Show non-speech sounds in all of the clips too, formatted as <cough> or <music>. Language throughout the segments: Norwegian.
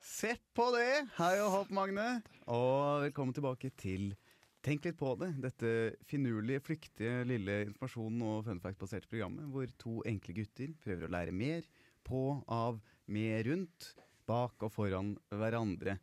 Se på det! Hei og hopp, Magne. Og velkommen tilbake til Tenk litt på det. Dette finurlige, flyktige, lille informasjonen og funfact-baserte programmet hvor to enkle gutter prøver å lære mer på, av, med, rundt, bak og foran hverandre.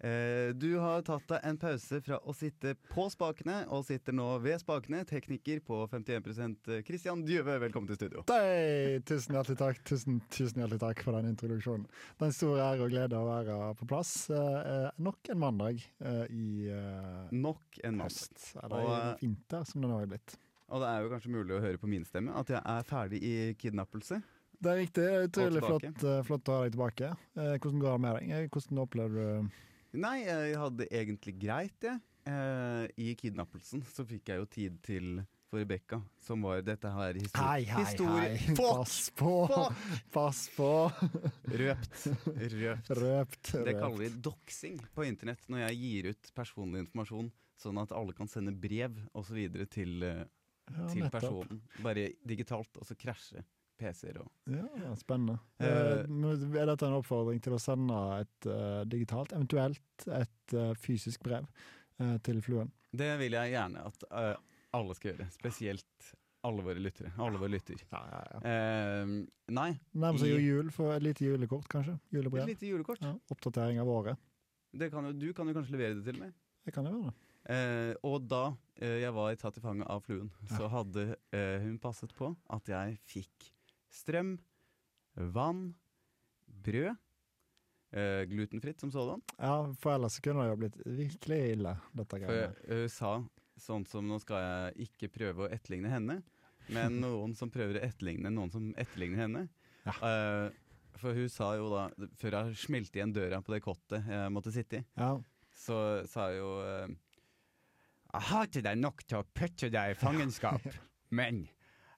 Eh, Du har tatt deg en pause fra å sitte på spakene, og sitter nå ved spakene. Tekniker på 51 Christian Djøve, velkommen til studio. Hei! Tusen hjertelig takk Tusen, tusen hjertelig takk for den introduksjonen. Det er en stor ære og glede å være på plass eh, eh, nok en mandag eh, i eh, Nok en mann. høst. Eller Og, eh, i vinter, som det nå er blitt. Og det er jo kanskje mulig å høre på min stemme at jeg er ferdig i kidnappelse. Det er riktig. Utrolig Og flott, tilbake. eh, flott å ha deg tilbake. Eh, Hvordan går det med deg? Eh, Hvordan opplever du Nei, jeg hadde det egentlig greit, jeg. Eh, I kidnappelsen så fikk jeg jo tid til for Rebekka, som var dette her histori histori- Fuck! Pass på! Fuck! Pass på! Røpt. Røpt. <laughs> Røpt. Det røpt. kaller vi doxing på internett, når jeg gir ut personlig informasjon, sånn at alle kan sende brev osv. til, eh, Ja, til nettopp. personen. Bare digitalt, og så krasje PC-er og Ja, spennende. Eh, Eh, men er dette en oppfordring til å sende et eh, digitalt, eventuelt et eh, fysisk brev eh, til Fluen? Det vil jeg gjerne at eh, alle skal gjøre. Spesielt alle våre lyttere. Alle våre lytter. Ja, ja, ja. Eh, nei, Nærmer seg jo I- jul, for et lite julekort, kanskje? et Julebrev? lite julekort. Ja, oppdatering av året. Det kan jo, du kan jo kanskje levere det til meg. Det kan jo være det. Eh, og da eh, jeg var tatt i fanget av fluen, så hadde eh, hun passet på at jeg fikk strøm, vann, brød. eh, glutenfritt som sådan. Ja, for ellers så kunne det jo blitt virkelig ille, dette For eh, greiene. hun sa sånn som nå skal jeg ikke prøve å etterligne henne, men noen som prøver å etterligne noen som etterligner henne. Eh, for hun sa jo da, før jeg smelte igjen døra på det kottet jeg måtte sitte i, Ja, <laughs> så sa jeg jo eh, Jeg hater deg nok til å putte deg i <laughs> fangenskap, men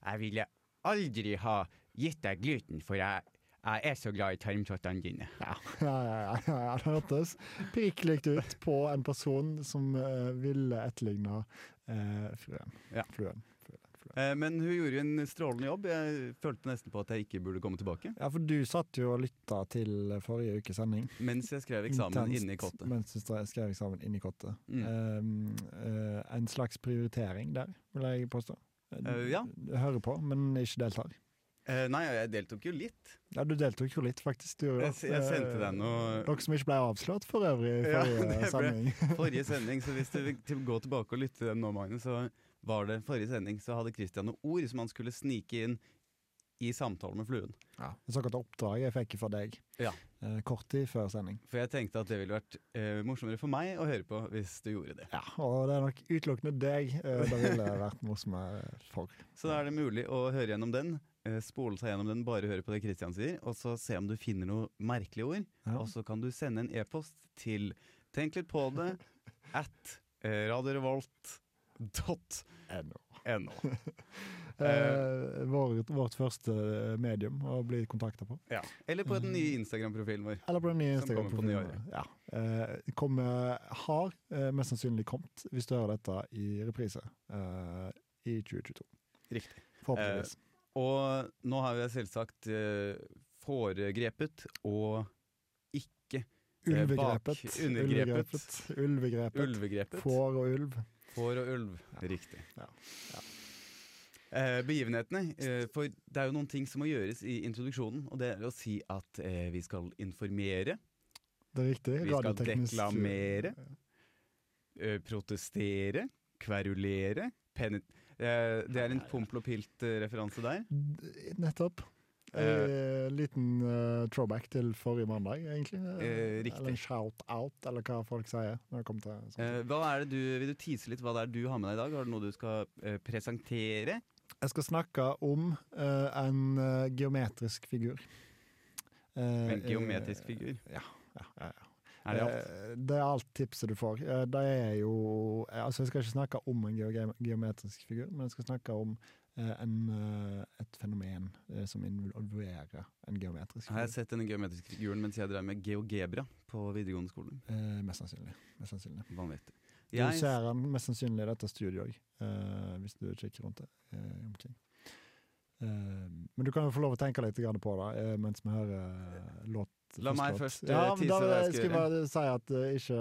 jeg ville aldri ha gitt deg gluten, for jeg, jeg er så glad i tarmtottene dine. ja, ja, ja, ja, ja det hørtes prikk likt ut på en person som eh, ville etterligne eh, Fluen. Ja. Fluen. Fluen. Fluen. Eh, men hun gjorde jo en strålende jobb. Jeg følte nesten på at jeg ikke burde komme tilbake. Ja, for du satt jo og lytta til forrige ukes sending. Mens jeg skrev eksamen Intenst inne i kottet. Mens du stre- skrev eksamen inni kottet. Mm. Um, eh, en slags prioritering der, vil jeg påstå. Eh, ja. Du Hører på, men ikke deltar. Eh, nei, jeg deltok jo litt. Ja, du deltok jo litt, faktisk. Du, gjorde Jeg, det. jeg sendte deg Eh, noe Dere som ikke ble avslørt for øvrig i Ja, det forrige ble- <laughs> <laughs> sending. forrige sending, så hvis du vil til- gå tilbake og lytte til den nå, Magnus, så var det forrige sending så hadde Christian noen ord som han skulle snike inn i samtalen med fluen. Ja. Det såkalte oppdraget jeg fikk fra deg Ja. eh, kort tid før sending. For jeg tenkte at det ville vært eh, morsommere for meg å høre på hvis du gjorde det. Ja, Og det er nok utelukkende deg eh, det <laughs> ville vært morsommere for. Så da er det mulig å høre gjennom den, eh, spole seg gjennom den, bare høre på det Christian sier, og så se om du finner noe merkelige ord. Ja. Og så kan du sende en e-post til tenk litt på det at eh, radiorevolt.no. Ennå. Eh, vårt, vårt første medium å bli kontakta på. Ja. Eller på den nye Instagram-profilen vår. Eller på den nye Som kommer på Instagram-profilen. Ja. Eh, kommer- har eh, mest sannsynlig kommet, hvis du hører dette i reprise, eh, i 2022. Riktig. Forhåpentligvis. Og nå har jeg selvsagt eh, foregrepet og ikke eh, bak- Ulvegrepet. Undergrepet. Ulvegrepet. Ulvegrepet. Ulvegrepet. Får og ulv. Får og ulv. Riktig. Ja. Eh, begivenhetene. Eh, for det er jo noen ting som må gjøres i introduksjonen. Og det er å si at eh, vi skal informere, Det er riktig. vi skal Radioteknisk- deklamere, eh, protestere, kverulere. Penet eh, det er en Pompel og Pilt-referanse der. D- Nettopp. Eh, Eh, liten eh, throwback til forrige mandag, egentlig. Eh, riktig. Eller en shout-out, eller hva folk sier. når det kommer til sånt. Eh, hva er det du, vil du tease litt hva det er du har med deg i dag? Har du noe du skal eh, presentere? Jeg skal snakke om eh, en eh, geometrisk figur. Eh, En geometrisk eh, figur? Ja, ja, ja. Er det alt? Eh, det er alt tipset du får. Eh, det er jo eh, Altså, jeg skal ikke snakke om en geo- geometrisk figur, men jeg skal snakke om eh, en, eh, et fenomen eh, som involverer en geometrisk Har jeg figur. sett denne geometriske figuren mens jeg drev med geogebra på videregående skole? Eh, mest sannsynlig. Mest sannsynlig. Vanvittig. Du Jeg, ser den mest sannsynlig i dette studioet òg, eh, hvis du kikker rundt det. Eh, omkring. Eh, men du kan jo få lov å tenke litt grann på det eh, mens vi hører eh, låt La meg forstått. først, eh, ja, men da tease hva vil jeg jeg skal skulle bare si at eh, ikke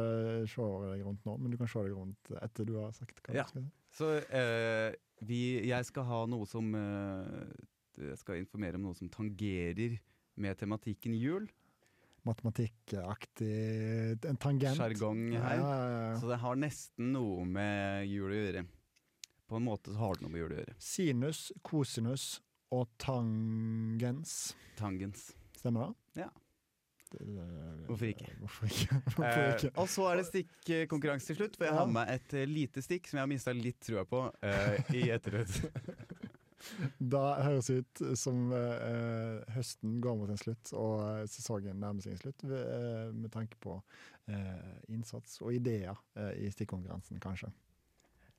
se deg rundt nå, men du kan se deg rundt etter du har sagt hva Ja. du skal si. Så eh, vi, jeg skal ha noe som eh, Jeg skal informere om noe som tangerer med tematikken jul. Matematikkaktig En tangent. Sjargong Ja, her. ja, ja. Så det har nesten noe med jul å gjøre. På en måte så har det noe med jul å gjøre. Sinus, kosinus og tangens. Tangens. Stemmer det? Ja. Det- det- Hvorfor ikke? <laughs> Hvorfor ikke? Hvorfor Eh, ikke? og så er det stikkkonkurranse til slutt, for jeg Ja. har med meg et eh, lite stikk som jeg har mista litt trua på eh, i ettertid. <laughs> Da høres det ut som eh, høsten går mot en slutt, og eh, sesongen nærmer seg en slutt, ved- eh, med tanke på eh, innsats og ideer eh, i stikkonkurransen, kanskje.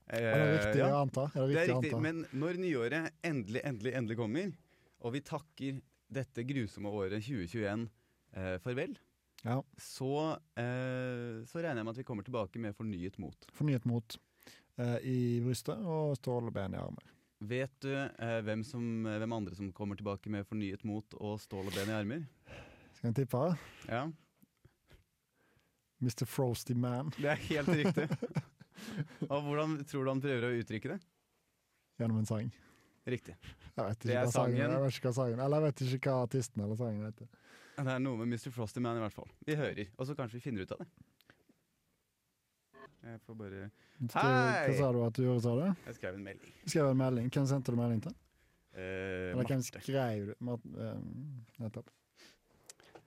Er det Eh, riktig ja. å anta? Er det Det er riktig å riktig, anta? men når nyåret endelig, endelig, endelig kommer, og vi takker dette grusomme året 2021 eh, farvel, Ja. så, eh, så regner jeg med at vi kommer tilbake med fornyet mot. Fornyet mot eh, i brystet og stålben i armen. Vet du eh, hvem, som, hvem andre som kommer tilbake med fornyet mot og stål og ben i armer? Skal jeg tippe? Ja, Mr. Frosty Man det er helt riktig. Og hvordan tror du han prøver å uttrykke det? gjennom en sang. Riktig. Jeg vet Det ikke, er hva sangen, sangen. jeg vet ikke hva sangen Eller jeg vet ikke hva artisten eller sangen heter. Det er noe med Mr. Frosty Man i hvert fall. Vi hører, og så kanskje vi finner ut av det. Jeg får bare Skal du- Hei! Hva sa du at du gjorde, sa du? Jeg skrev en melding. Du Skrev en melding. Hvem sendte du melding til? Eh, Eller hvem Marte. skrev du? Mart, eh, nettopp.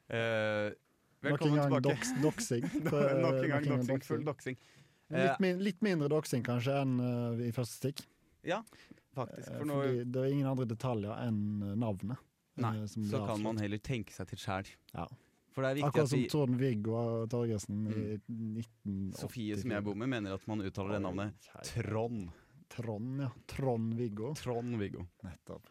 Eh, Nok en velkommen gang tilbake. doks, <laughs> doksing. Eh, Nok en nok gang en gang doxing. doxing. Full doxing. Eh, Litt, min, litt mindre doksing kanskje enn eh, i første stikk. faktisk. Eh, For nå Fordi det er ingen andre detaljer enn eh, navnet. eh, Nei, som så blir kan man avslørt. heller tenke seg til sjæl. Ja. For det er viktig Akkurat at som vi, Mm. Trond-Viggo Torgersen i 1984. Sofie, som jeg bor med, mener at man uttaler det navnet Trond. Trond, ja. Trond-Viggo. Trond-Viggo. Nettopp.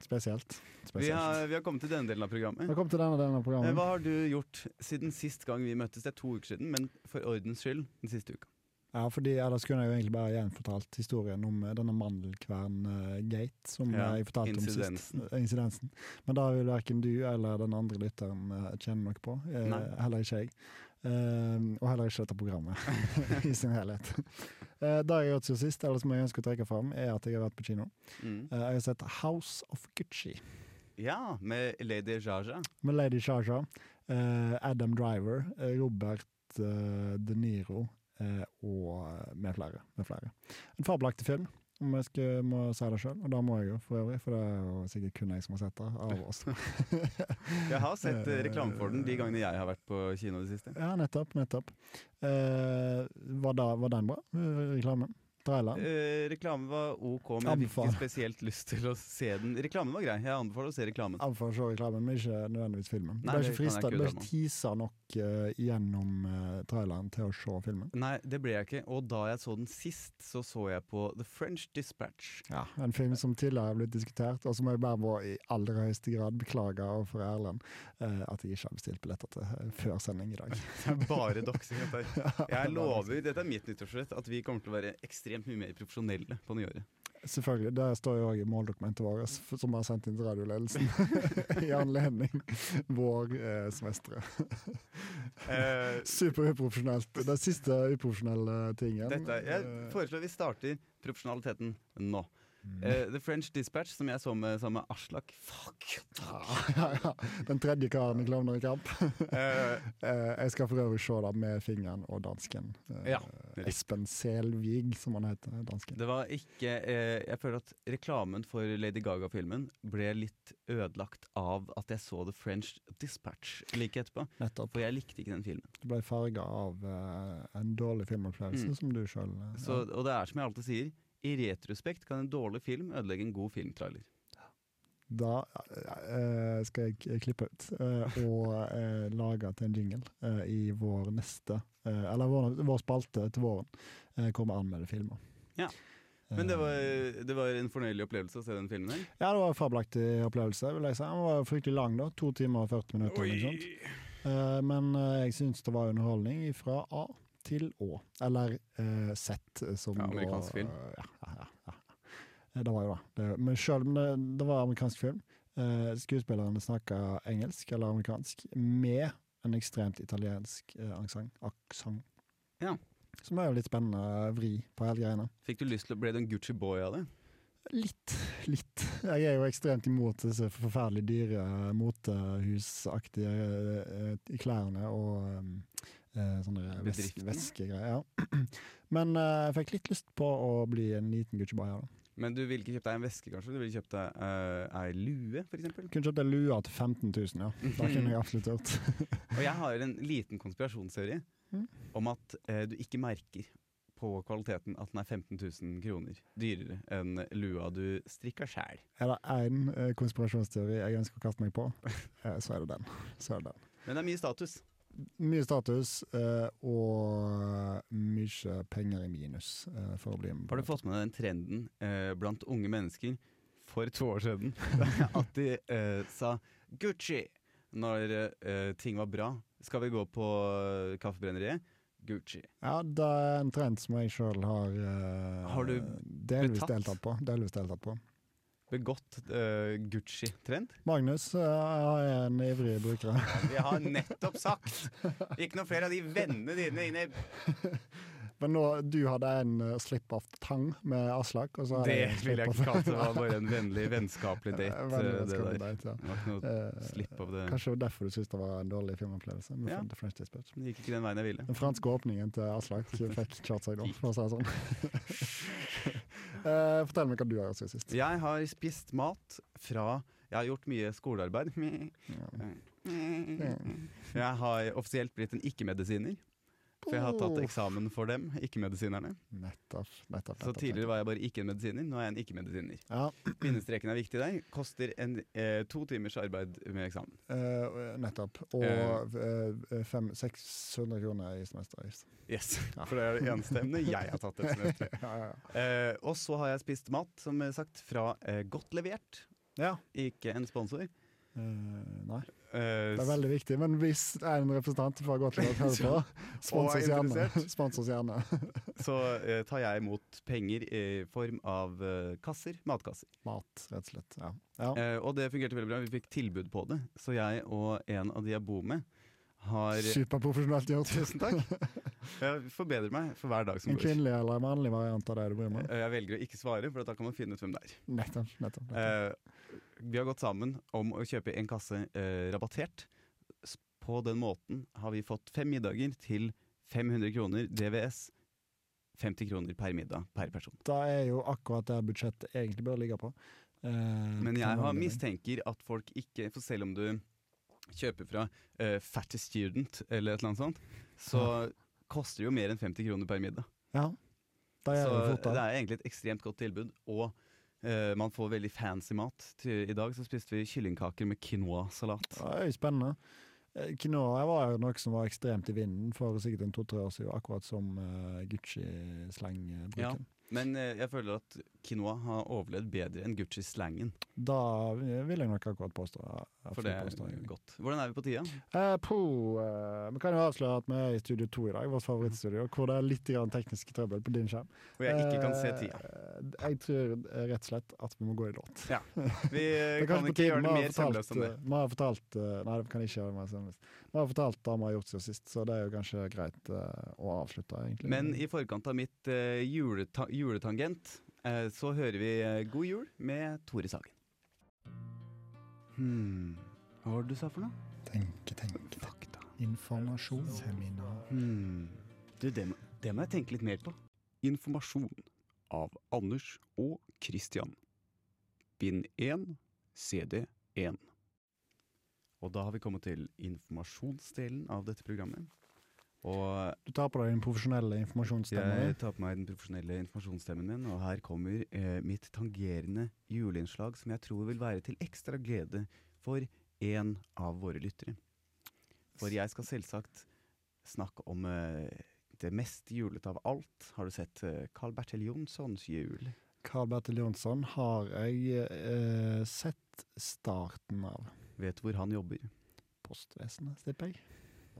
Spesielt. Spesielt. Vi, har- vi har kommet til denne delen av programmet. Velkommen til denne delen av Eh, programmet. Hva har du gjort siden sist gang vi møttes? Det er to uker siden, men for ordens skyld den siste uka. Ja, fordi Ellers kunne jeg jo egentlig bare gjenfortalt historien om eh, denne mandelkvern-gate. som Ja, eh, jeg fortalte om sist. incidensen. Eh, Incidensen. Men da vil verken du eller den andre lytteren eh, kjenne noe på. Eh, Nei. Heller ikke jeg. Eh, og heller ikke dette programmet <laughs> i sin helhet. Eh, det jeg har gjort siden sist, eller som jeg ønsker å trekke fram, er at jeg har vært på kino. Mm. Eh, jeg har sett House of Gucci Ja, med Lady Jaja. med Lady Shaja, eh, Adam Driver, eh, Robert eh, De Niro eh, og med flere, med flere. En fabelaktig film, om jeg skal, må si det sjøl. Og det må jeg jo for øvrig, for det er jo sikkert kun jeg som har sett det. av oss. Jeg har sett eh, reklame for den de gangene jeg har vært på kino i det siste. Ja, nettopp. nettopp. Eh, var, da, var den bra, eh, reklamen? Traileren? Eh, reklame var ok, men jeg fikk Anbefaler. ikke spesielt lyst til å se den. Reklamen var grei, jeg anbefaler å se reklamen. Av for å se reklamen, men ikke nødvendigvis filmen. Nei, det det kan jeg ble ikke frista, ikke det ble uttale meg ikke teasa nok eh, gjennom eh, traileren til å se filmen. Nei, det ble jeg ikke, og da jeg så den sist, så så jeg på The French Dispatch. Ja, En film som tidligere har blitt diskutert, og som jeg bare må i aller høyeste grad beklage overfor Erlend eh, at jeg ikke har bestilt billetter til eh, før sending i dag. <laughs> Det er bare doxing. <laughs> dette her. <laughs> Jeg lover, dette er mitt nyttårsrett, at vi kommer til å være ekstremt mye mer profesjonelle på <laughs> nyåret. Selvfølgelig. Det står jo òg i måldokumentet vårt, f- som er sendt inn til radioledelsen <laughs> i anledning vår eh, semestre. Eh, Superuprofesjonelt. Det er siste uprofesjonelle tingen. dette, er- jeg Eh, Mm. foreslår vi starter profesjonaliteten nå. Eh, The French Dispatch, som jeg så med sammen med Aslak Fuck! <laughs> ja, ja. Den tredje karen i Klovner i kamp. <laughs> Eh, Eh, jeg skal for øvrig se det med fingeren og dansken. Eh, Ja, Espen Selvig, som han heter. Dansken. Det var ikke eh, Jeg føler at reklamen for Lady Gaga-filmen ble litt ødelagt av at jeg så The French Dispatch like etterpå. Nettopp. For jeg likte ikke den filmen. Du ble farga av eh, en dårlig filmopplevelse Mm. som du sjøl uh, Så, og det er som jeg alltid sier, i retrospekt kan en dårlig film ødelegge en god filmtrailer. Da eh, skal jeg k- klippe ut eh, og eh, lage til en jingle eh, i vår neste eh, Eller vår, vår spalte til våren, eh, hvor vi anmelder filmer. Ja. Men det var, Eh, det var en fornøyelig opplevelse å se den filmen her. ja, det var en fabelaktig opplevelse. vil jeg si. Den var fryktelig lang, da. To timer og 40 minutter. eller noe sånt. Eh, men eh, jeg syns det var underholdning fra A til Å. Eller eh, Z, som Ja, da- amerikansk film. eh, ja, ja, ja, ja. Eh, Det var jo det. det men selv om det, det var amerikansk film, Eh, skuespillerne snakker engelsk eller amerikansk med en ekstremt italiensk eh, aksent. aksent. Ja. Som er jo litt spennende eh, vri på hele greiene. Fikk du lyst til å Ble du en Gucci boy av det? Litt. Litt. Jeg er jo ekstremt imot disse forferdelig dyre motehusaktige eh, eh, klærne og eh, sånne ves Bedriftene? væskegreier. Ja. <clears throat> Men eh, jeg fikk litt lyst på å bli en liten Gucci Bayer. Men du ville ikke kjøpt deg en veske, kanskje? Du ville kjøpt deg eh, ei lue, f.eks.? Kunne kjøpt ei lue til 15 000, ja. Det kunne jeg absolutt gjort. Og jeg har en liten konspirasjonsteori Mm. om at eh, du ikke merker på kvaliteten at den er 15 000 kroner dyrere enn lua du strikker sjæl. Er det én eh, konspirasjonsteori jeg ønsker å kaste meg på, eh, så er det den. Så er det den. Men det er mye status. Mye status eh, og mye penger i minus eh, for å bli med. på Har du dette. fått med deg den trenden eh, blant unge mennesker for to år <laughs> siden? At de eh, sa Gucci når eh, ting var bra. Skal vi gå på eh, kaffebrenneriet? Gucci. Ja, det er en trend som jeg sjøl har, eh, Har du delvis betatt? deltatt på. Delvis deltatt på. Begått eh, Gucci-trend? Magnus eh, er en ivrig bruker. <laughs> Jeg har nettopp sagt! Ikke noe flere av de vennene dine inne i Men nå, du hadde en eh, slip of tang med Aslak. Og så hadde Det jeg en slip vil jeg of- ikke kalle det. Det <laughs> var bare en vennlig, vennskapelig date. Veldig eh, Det der. vanskelig date, ja. Det var ikke noe Eh, slipp av det. Kanskje det var derfor du syntes det var en dårlig filmopplevelse. med Ja. The French Dispatch. Det gikk ikke den veien jeg ville. Den franske åpningen til Aslak fikk kjørt seg da, for å si det sånn. <laughs> Eh, fortell meg hva du har gjort siden sist. Jeg har spist mat fra Jeg har gjort mye skolearbeid. <laughs> Ja. Mm. Jeg har offisielt blitt en ikke-medisiner. For jeg har tatt Oh. eksamen for dem, ikke-medisinerne. Nettopp, nettopp, Så nettopp, tidligere var jeg bare ikke en medisiner, nå er jeg en ikke-medisiner. nettopp. Ja, Bindestreken er viktig der. Koster en, eh, to timers arbeid med eksamen. eh, nettopp. Og eh, fem, 600 kroner <laughs> i semesteravgift. Yes, For det er det eneste emnet jeg har tatt. dette semesteret. Ja, ja, ja. Eh, og så har jeg spist mat, som sagt, fra eh, Godt levert. ja. Ikke en sponsor. Eh, nei, Eh, det er veldig viktig. Men hvis en representant fra Gotland <laughs> hører på, spons oss gjerne. <laughs> interessert. Spons oss gjerne. så eh, tar jeg imot penger i form av eh, kasser, matkasser. Mat, rett og slett. Ja. ja. Eh, og det fungerte veldig bra. Vi fikk tilbud på det. Så jeg og en av de jeg bor med, har Superprofesjonelt <laughs> gjort. Tusen takk. Jeg forbedrer meg for hver dag som går. En Eh, kvinnelig eller en mannlig variant av det du bryr deg om? Jeg velger å ikke svare, for da kan man finne ut hvem det er. Nettopp. nettopp, nettopp. Eh, Vi har gått sammen om å kjøpe en kasse eh, rabattert. S- På den måten har vi fått fem middager til 500 kroner DVS. 50 kroner per middag per person. Da er jo akkurat der budsjettet egentlig bør ligge på. Eh, Men til jeg har vanlig lønn. mistenker at folk ikke For selv om du kjøper fra uh, Fatty Student eller et eller annet sånt, så koster det jo mer enn 50 kroner per middag. Ja. Da er Så det fort det der. er egentlig et ekstremt godt tilbud. Og eh, man får veldig fancy mat. Til, I dag så spiste vi kyllingkaker med quinoa-salat. Det er jo spennende. Eh, Quinoa var jo noe som var ekstremt i vinden for sikkert en to-tre år siden, akkurat som eh, Gucci-slangbruken. Ja. Men eh, jeg føler at quinoa har overlevd bedre enn Gucci-slangen. Da eh, vil jeg nok akkurat påstå. ja, For det absolutt er påstå, egentlig. godt. Hvordan er vi på tida? Eh, på, eh, vi kan jo avsløre at vi er i Studio 2 i dag, vårt favorittstudio, hvor det er litt grann teknisk trøbbel på din skjerm. Hvor jeg ikke kan se Eh, tida. Jeg tror eh, rett og slett at vi må gå i låt. Vi eh, Det er kan kanskje på ikke tide. gjøre det Vi har mer fortalt, sømløst enn det. eh, Vi har fortalt eh, Nei, vi kan ikke gjøre det mer sømløst. Vi har fortalt det vi har gjort siden sist, så det er jo kanskje greit eh, å avslutte, egentlig. Men i forkant av mitt eh, juleta juletangent eh, så hører vi eh, God jul med Tore Sagen. Hmm. Hva var det du sa for noe? Tenke, tenke. Fakta. Informasjon. Seminar. Hmm. Du, det, må, det må jeg tenke litt mer på. Informasjon av Anders og Christian. Bind 1, CD 1. Og da har vi kommet til informasjonsdelen av dette programmet. Og Du tar på deg den profesjonelle informasjonsstemmen. jeg tar på meg den profesjonelle informasjonsstemmen min, og her kommer eh, mitt tangerende juleinnslag som jeg tror vil være til ekstra glede for en av våre lyttere. For jeg skal selvsagt snakke om eh, det mest julete av alt. Har du sett eh, Carl Bertil Jonssons jul? Carl Bertil Jonsson har jeg eh, sett starten av. Vet du hvor han jobber? postvesenet, slipper jeg.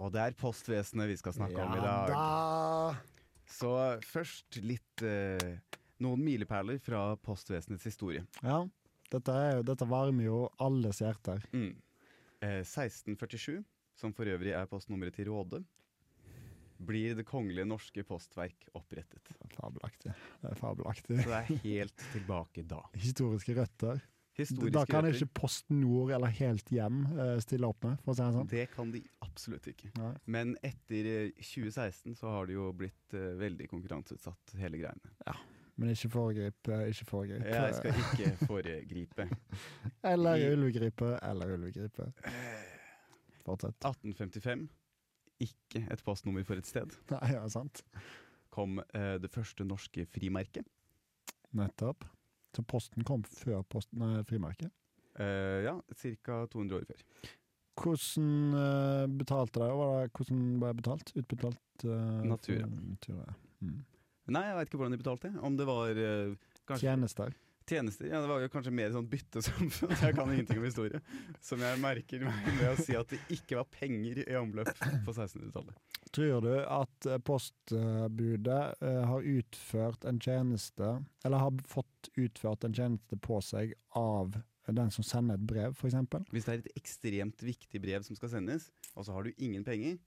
Og det er postvesenet vi skal snakke om i dag. Da. Så først litt eh, noen milepæler fra postvesenets historie. Ja, Dette, er, jo- dette varmer jo alles hjerter. Mm. Eh, 1647, som for øvrig er postnummeret til Råde, blir Det kongelige norske postverk opprettet. Fabelaktig. Det er fabelaktig. Så det er helt <laughs> tilbake da. Historiske røtter. Historiske da kan røtter, ikke Post Nord eller Helt Hjem eh, stille opp med, for å si det sånn. det kan de absolutt ikke. Nei. Men etter eh, 2016 så har det jo blitt eh, veldig konkurranseutsatt, hele greiene. Men ikke foregrip. eh, Ikke foregrip. Jeg skal ikke foregripe. Eller Vi- ulvegripe. Eller ulvegripe. Fortsett. <laughs> 1855, ikke et postnummer for et sted, Nei, ja, sant. kom eh, det første norske frimerket. Nettopp. Så posten kom før posten, nei, frimerket. Eh, ja, ca. 200 år før. Hvordan eh, betalte de? Var det, hvordan ble det betalt? Utbetalt? eh, Natura. for- Natura. Mm. Nei, jeg veit ikke hvordan de betalte. Om det var eh, kanskje Tjenester. tjenester Ja, det var jo kanskje mer sånn byttesamfunn. Jeg kan ingenting om historie. Som jeg merker meg ved å si at det ikke var penger i omløp på 1600-tallet. Tror du at eh, postbudet eh, har utført en tjeneste, eller har fått utført en tjeneste på seg av den som sender et brev, f.eks.? Hvis det er et ekstremt viktig brev som skal sendes, og så har du ingen penger,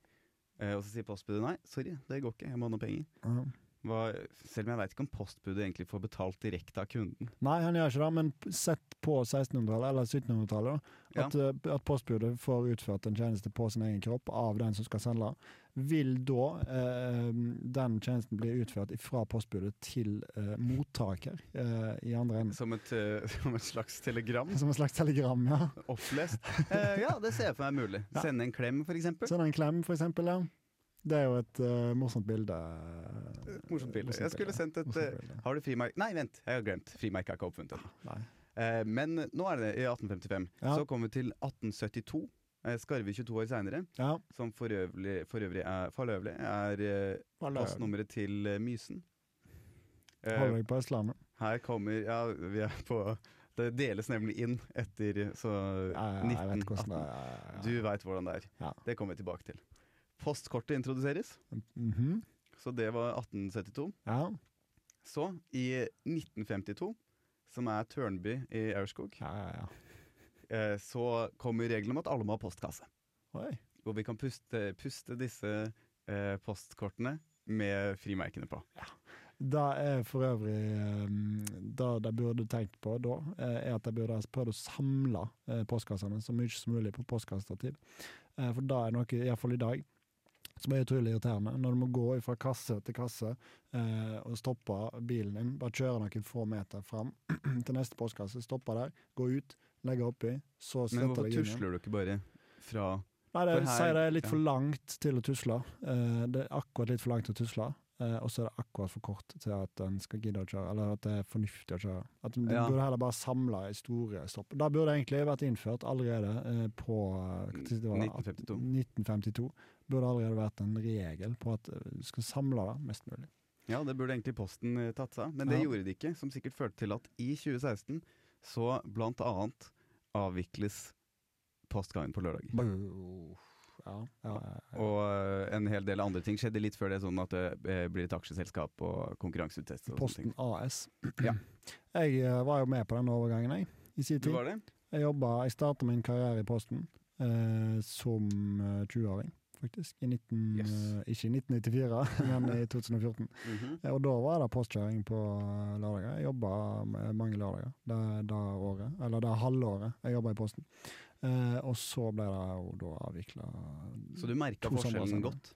eh, og så sier postbudet nei, sorry, det går ikke, jeg må ha noen penger. Ja. Hva, selv om jeg veit ikke om postbudet egentlig får betalt direkte av kunden. Nei, han gjør ikke det, men p- sett på 1600-tallet eller 1700-tallet, da, Ja. at, eh, at postbudet får utført en tjeneste på sin egen kropp av den som skal sende, vil da eh, den tjenesten bli utført fra postbudet til eh, mottaker eh, i andre enden? Som et, eh, <laughs> som et slags telegram. Som en slags telegram, ja. Opplest. Eh, ja, det ser jeg for meg er mulig. Ja. Sende en klem, f.eks. Send Sånn en klem, for eksempel. Ja. Det er jo et eh, morsomt bilde. eh, Morsomt bilde. Jeg skulle sendt et Morsomt eh, bilde. Har du frimerke? Nei, vent, jeg har glemt. Frimerke er ikke oppfunnet ennå. Nei. Eh, men nå er det i 1855. Ja. Så kommer vi til 1872. Eh, Skarve 22 år seinere, Ja. som for øvrig, for øvrig er farløvlig, er eh, postnummeret til eh, Mysen. Holder Eh, deg på Østlandet. her kommer Ja, vi er på Det deles nemlig inn etter så Ja, ja, jeg vet hvordan 1918. det er. Du veit hvordan det er. Ja. Det kommer vi tilbake til. Postkortet introduseres, Mhm. så det var 1872. ja. Så, i 1952, som er Tørnby i Aurskog, Ja, ja, ja. eh, så kommer regelen om at alle må ha postkasse. Oi. Hvor vi kan puste, puste disse eh, postkortene med frimerkene på. Det er for øvrig um, det de burde tenkt på da, eh, er at de burde ha prøvd å samle eh, postkassene så mye som mulig på postkassestativ. Eh, For det er noe, iallfall i dag, som er utrolig irriterende. Når du må gå fra kasse til kasse eh, og stoppe bilen din, bare kjøre noen få meter fram <clears throat> til neste postkasse, stoppe der, gå ut, legge oppi, så Men sette hvorfor deg inn igjen. tusler du ikke bare fra Nei, det, For her- sier det er litt ja. for langt til å tusle. Eh, det er akkurat litt for langt til å tusle. eh, og så er det akkurat for kort til at en skal gidde å kjøre, eller at det er fornuftig å kjøre. At Du Ja. burde heller bare samle i store stopp. Da burde det egentlig vært innført allerede eh, på eh, hva tid det var, 1952. mm. 1952. Burde allerede vært en regel på at eh, du skal samle det mest mulig. Ja, det burde egentlig Posten eh, tatt seg av, men det Ja. gjorde de ikke. Som sikkert førte til at i 2016 så blant annet avvikles postgangen på lørdager. Ja, ja, ja, ja. Og eh, en hel del andre ting skjedde litt før det, sånn at det eh, blir et aksjeselskap og konkurranseutsetting. og sånne ting. Posten AS. Ja. Jeg eh, var jo med på den overgangen, jeg. I sin Du tid. var det? Jeg jobba Jeg starta min karriere i Posten eh, som eh, 20-åring, faktisk. I 19, Yes. eh, ikke i 1994, <laughs> men i 2014. Mhm. Eh, Og da var det postkjøring på eh, lørdager. Jeg jobba eh, mange lørdager det, det året, eller det halvåret jeg jobba i Posten. Eh, og så ble det jo da avvikla Så du merka To somre forskjellen senere. godt?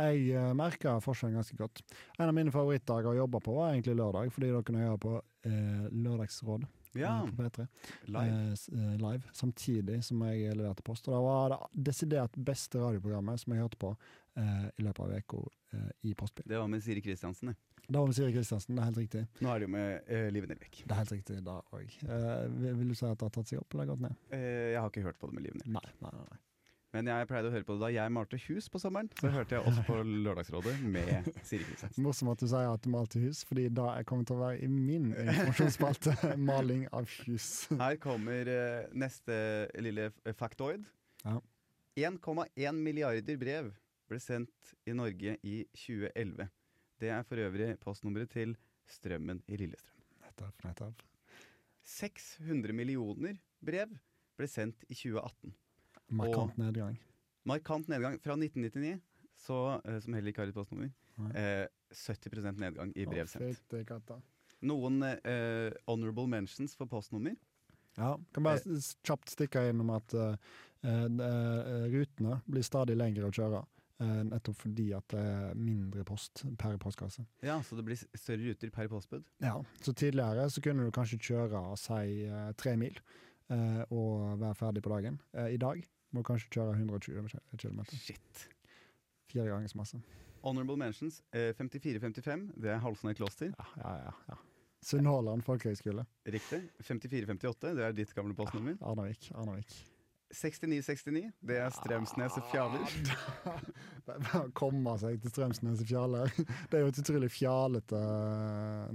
Jeg uh, merka forskjellen ganske godt. En av mine favorittdager å jobbe på var egentlig lørdag, fordi da kunne jeg høre på eh, Lørdagsråd Ja, eh, på P3. live. Eh, s- eh, live, samtidig som jeg leverte post. Og det var det desidert beste radioprogrammet som jeg hørte på eh, i løpet av uka eh, i postbil. Det var med Siri Kristiansen, det. Det var med Siri Kristiansen, det er helt riktig. Nå er det jo med eh, Live Nelvik. Det er helt riktig da òg. Eh, vil vil du si at det har tatt seg opp eller gått ned? Eh, jeg har ikke hørt på det med Live Nelvik. Nei. nei, nei, nei. Men jeg pleide å høre på det da jeg malte hus på sommeren. Så hørte jeg <laughs> også på Lørdagsrådet med Siri Kristiansen. Morsomt at du sier at du malte hus, fordi da jeg kommer til å være i min <laughs> informasjonsspalte maling av hus. Her kommer eh, neste lille f- eh, factoid. Ja. 1,1 milliarder brev ble sendt i Norge i 2011. Det er for øvrig postnummeret til Strømmen i Lillestrøm. Nettopp, nettopp. 600 millioner brev ble sendt i 2018. Markant nedgang. Markant nedgang fra 1999, så, eh, som heller ikke har et postnummer. Nei. Eh, 70 nedgang i brev sendt. Fytti katta. Noen eh, honorable mentions for postnummer. Ja, kan bare s- kjapt stikke innom at eh, eh, eh, rutene blir stadig lengre å kjøre. eh, nettopp fordi at det er mindre post per postkasse. Ja, Så det blir s- større ruter per postbud. Ja, så tidligere så kunne du kanskje kjøre si eh, tre mil eh, og være ferdig på dagen. Eh, I dag må du kanskje kjøre 120 km. Shit. Fire ganger så masse. Honorable mentions eh, 54-55, det er Halsnøy kloster. Ja, ja, ja. ja. Sunnhordland folkehøgskole. Riktig. 54-58, det er ditt gamle postnummer. Arnavik. Arnavik. 69-69, det er Strømsnes og Fjaler. Ah, Det er bare å komme seg til Strømsnes i fjaler. <laughs> Det er jo et utrolig fjalete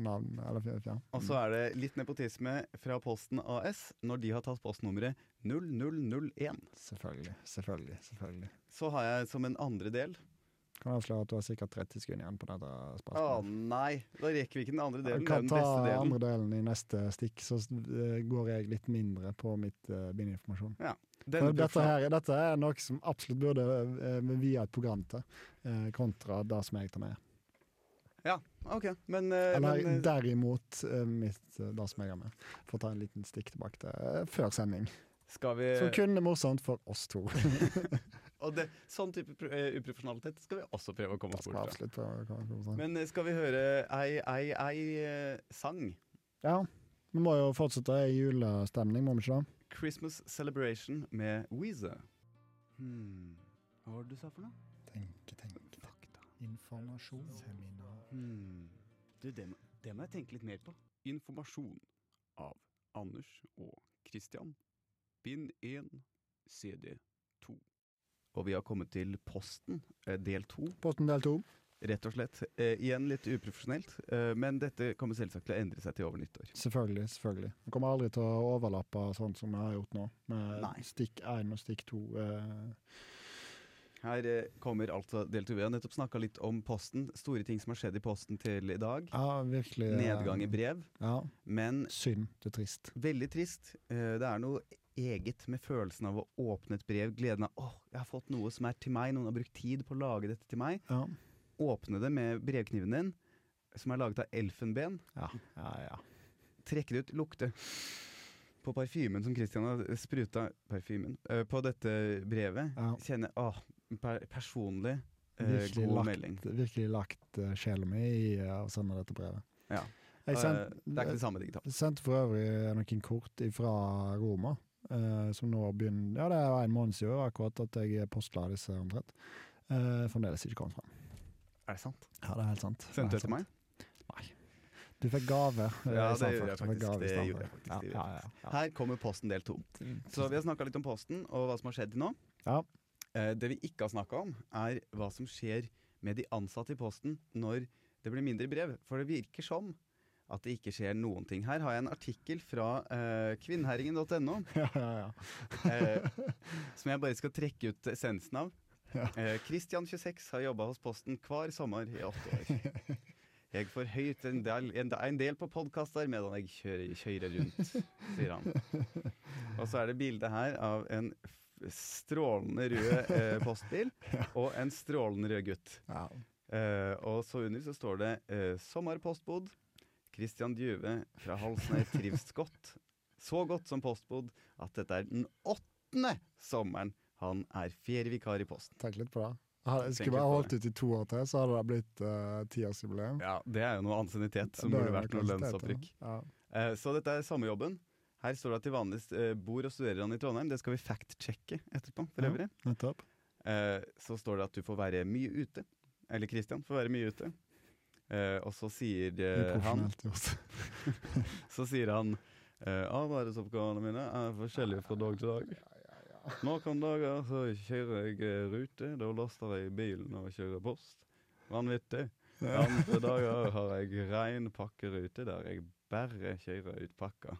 navn. Eller fj- fjern. Og så er det litt nepotisme fra Posten AS når de har tatt postnummeret 0001. Selvfølgelig, selvfølgelig. selvfølgelig. Så har jeg som en andre del Kan avsløre at du har sikkert 30 sekunder igjen på dette Å spørsmålet. nei, da rekker vi ikke den andre Du delen. Ah, Det er kan den ta beste delen. andre delen i neste stikk, så eh, går jeg litt mindre på mitt uh, bindeinformasjon. Denne Men Dette, profa- her, dette er noe som absolutt burde eh, vie et program til, eh, kontra det som jeg tar med. Ok, men, eh, Eller men eh, derimot eh, mitt, eh, det som jeg har med. For å ta en liten stikk tilbake til eh, før sending. skal vi Som kun er morsomt for oss to. Og det, sånn type pro- eh, uprofesjonalitet skal vi også prøve å komme Da oss skal vi bort fra. avslutte på konferansen. Men eh, skal vi høre ei, ei, ei eh, sang? Ja, vi må jo fortsette i julestemning, må vi ikke det? Christmas Celebration med Weezer. Hmm. Hva var det du sa for noe? Tenke, tenke. Fakta. Informasjon. Seminar. Hmm. Du, det, må- det må jeg tenke litt mer på. Informasjon av Anders og Christian. Bind 1, CD 2. Og vi har kommet til Posten, eh, del 2, Posten del to. rett og slett. Eh, igjen litt uprofesjonelt, eh, men dette kommer selvsagt til å endre seg til over nyttår. Selvfølgelig. selvfølgelig. Vi kommer aldri til å overlappe sånn som vi har gjort nå, med Nei. stikk én og stikk to. eh. Her eh, kommer altså del 2. Vi har nettopp snakka litt om Posten, store ting som har skjedd i Posten til i dag. Ja, virkelig. eh, Nedgang i brev. Ja. Men Synd. Det er trist. Veldig trist. Eh, Det er noe eget med følelsen av å åpne et brev. Gleden av åh, jeg har fått noe som er til meg, noen har brukt tid på å lage dette til meg. Ja. Åpne det med brevkniven din, som er laget av elfenben. Ja, ja, ja. Trekke det ut, lukte på parfymen som Christian har spruta Parfymen. eh, På dette brevet. Ja. Kjenne åh, per personlig eh, Virkelig god lagt. melding. Virkelig lagt eh, sjela mi i eh, å sende dette brevet. Ja. Jeg Eh, send, det er ikke det samme digitalt. Sendte for øvrig noen kort fra Roma, eh, som nå begynner Ja, det er en måned siden akkurat at jeg postla disse omtrent. Eh, fremdeles ikke kommet fram. Er det sant? Ja, det er helt sant. Sendte du det til meg? Du fikk gave. eh, Ja, i det gjorde stedet for. jeg Du fikk faktisk. gave i Det stedet gjorde for. jeg faktisk, det gjorde Ja, ja, ja, ja. Her kommer Posten del to. Så <laughs> vi har snakka litt om Posten og hva som har skjedd til nå. Ja. Eh, det vi ikke har snakka om, er hva som skjer med de ansatte i Posten når det blir mindre brev. For det virker som at det ikke skjer noen ting. Her har jeg en artikkel fra eh, kvinnherringen.no ja, ja, ja. eh, som jeg bare skal trekke ut essensen av. Ja. Eh, Christian 26 har jobba hos Posten hver sommer i åtte år. Jeg får høyt en del, en, en del på podkaster medan jeg kjører, kjører rundt, sier han. Og så er det bilde her av en f- strålende rød eh, postbil og en strålende rød gutt. ja. Eh, og så under så står det eh, 'Sommerpostbod'. Christian Djuve fra Halsnøy <laughs> trives godt. Så godt som postbod at dette er den åttende sommeren han er ferievikar i Posten. Tenk litt på det. Hadde- Tenk Skulle litt bare på holdt ut i to år til, så hadde det blitt eh, tiårsjubileum. Ja, Det er jo noe ansiennitet som Det burde er vært noe kanskje det heter. lønnsopprykk. Ja. Eh, så dette er sommerjobben. Her står det at de vanligvis eh, bor og studerer han i Trondheim. Det skal vi fact-sjekke etterpå. for Ja. øvrig. Nettopp. Eh, så står det at du får være mye ute. Eller Christian får være mye ute. Eh, og så sier eh, han Uprofesjonelt gjort. <laughs> Så sier han eh, Arbeidsoppgavene mine er forskjellige fra dag til dag. Noen dager så kjører jeg eh, rute, da laster jeg bilen og kjører post. Vanvittig. Andre dager har jeg rein pakkerute der jeg bare kjører ut pakka.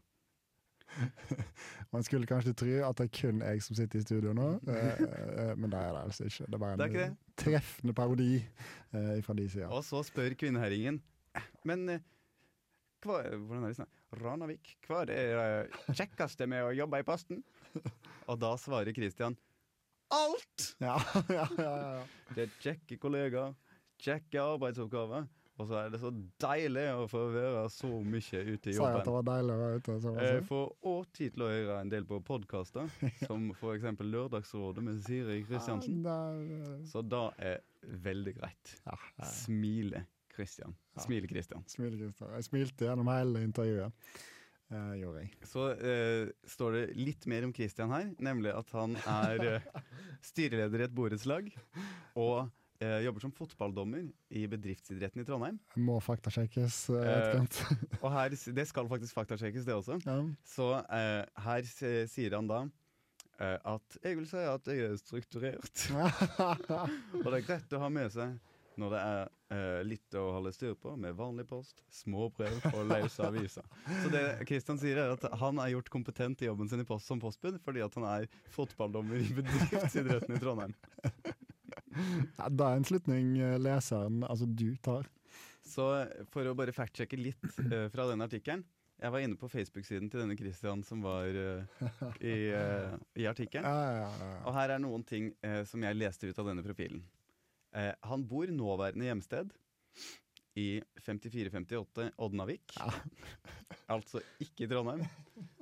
Man skulle kanskje tro at det er kun jeg som sitter i studio <laughs> nå, eh, eh, men det er det altså ikke. Det er bare en Det er ikke det. treffende parodi eh, fra de sida. Og så spør kvinneherringen Men eh, hva, hvordan er det snart? Ranavik, hva er det eh, kjekkeste med å jobbe i Posten? Og da svarer Kristian alt! <laughs> Ja, ja, ja, ja. Det er kjekke kollegaer, kjekke arbeidsoppgaver. Og så er det så deilig å få være så mye ute i Sa jeg at jobben. det var deilig å være ute? Så var Jeg det sånn. får òg tid til å høre en del på <laughs> podkaster, som f.eks. Lørdagsrådet med Siri Kristiansen. Ja, det er- eh, Så da er veldig greit. Ja, Ah. ja. Smile Kristian. Ja. Smile Kristian. Smil, Christer. Jeg smilte gjennom hele intervjuet. Eh, gjorde jeg. Så eh, står det litt mer om Kristian her, nemlig at han er <laughs> eh, styreleder i et borettslag og eh, jobber som fotballdommer i bedriftsidretten i Trondheim. Jeg Må faktasjekkes eh, Eh. etterkant. Og her, det skal faktisk faktasjekkes, det også. <laughs> ja. Så eh, her s- sier han da eh, at jeg vil si at jeg er strukturert. <laughs> og det er greit å ha med seg når det er eh, litt å holde styr på med vanlig post, små brev og løse aviser. Så det Kristian sier er at han er gjort kompetent i jobben sin i post som postbud fordi at han er fotballdommer i bedriftsidretten i Trondheim. Ja, det er en slutning eh, leseren, altså du, tar. Så for å bare factsjekke litt eh, fra denne artikkelen Jeg var inne på Facebook-siden til denne Kristian som var eh, i, eh, i artikkelen. Ja, ja, ja, ja. Og her er noen ting eh, som jeg leste ut av denne profilen. Eh, han bor nåværende hjemsted i 5458 Odnavik. Ja. altså ikke i Trondheim.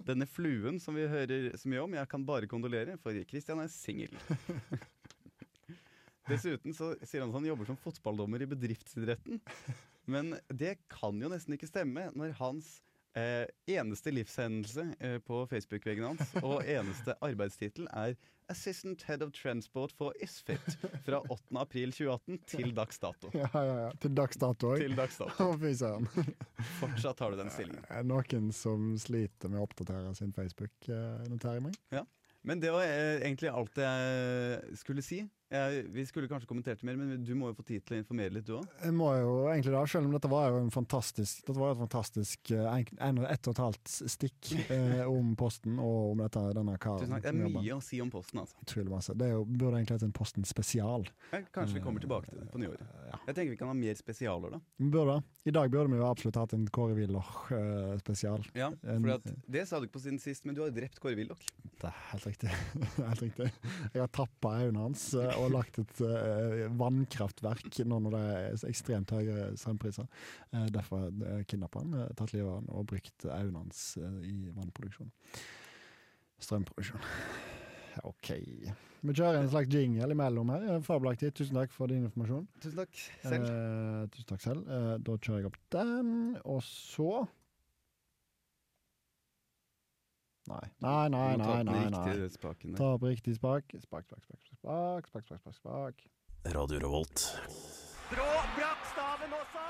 Denne fluen som vi hører så mye om, jeg kan bare kondolere, for Kristian er singel. Dessuten så sier han at han jobber som fotballdommer i bedriftsidretten. Men det kan jo nesten ikke stemme når hans eh, eneste livshendelse eh, på Facebook-veggen hans og eneste arbeidstittel er Assistant Head of Transport for Isfit fra 8. april 2018 til dags dato. ja, ja, ja. Til dags dato òg. Til dags dato. Å, fy søren. Fortsatt har du den stillingen. Er det Noen som sliter med å oppdatere sin Facebook, eh, noterer jeg meg. Men det var eh, egentlig alt jeg skulle si. Jeg, vi skulle kanskje kommentert det mer, men du må jo få tid til å informere litt, du òg. Jeg må jo egentlig da, selv om dette var jo en fantastisk Dette var jo et fantastisk eh, en- en, ett og et halvt stikk eh, om Posten og om dette, denne karen. Det er som jobber. mye å si om Posten, altså. Utrolig masse. Det er jo, burde egentlig hett en Posten spesial. Eh, Kanskje vi kommer tilbake til det på nyåret. Eh, Ja. Jeg tenker vi kan ha mer spesialer, da. Vi Burde, I dag burde vi jo absolutt hatt en Kåre Willoch eh, spesial. Ja, En- for at, det sa du ikke på siden sist, men du har drept Kåre Willoch. Det er helt riktig. <laughs> Det er helt riktig. Jeg har tappa øynene hans eh, og lagt et eh, vannkraftverk nå når det er ekstremt høye strømpriser. Eh, derfor har jeg kidnappa han, eh, tatt livet av han og brukt øynene hans eh, i vannproduksjon. Strømproduksjon. OK. Vi kjører en slags jingle imellom her. Eh, Fabelaktig. Tusen takk for din informasjon. Tusen takk selv. Eh, tusen takk selv. Eh, da kjører jeg opp den, og så Nei, nei, nei. Du må ta nei, opp den nei, nei. riktige spaken der. Ta opp riktig spak. Spak, spak, spak, spak, spak, spak, spak, spak. Radio Revolt. Brå, brakk staven også!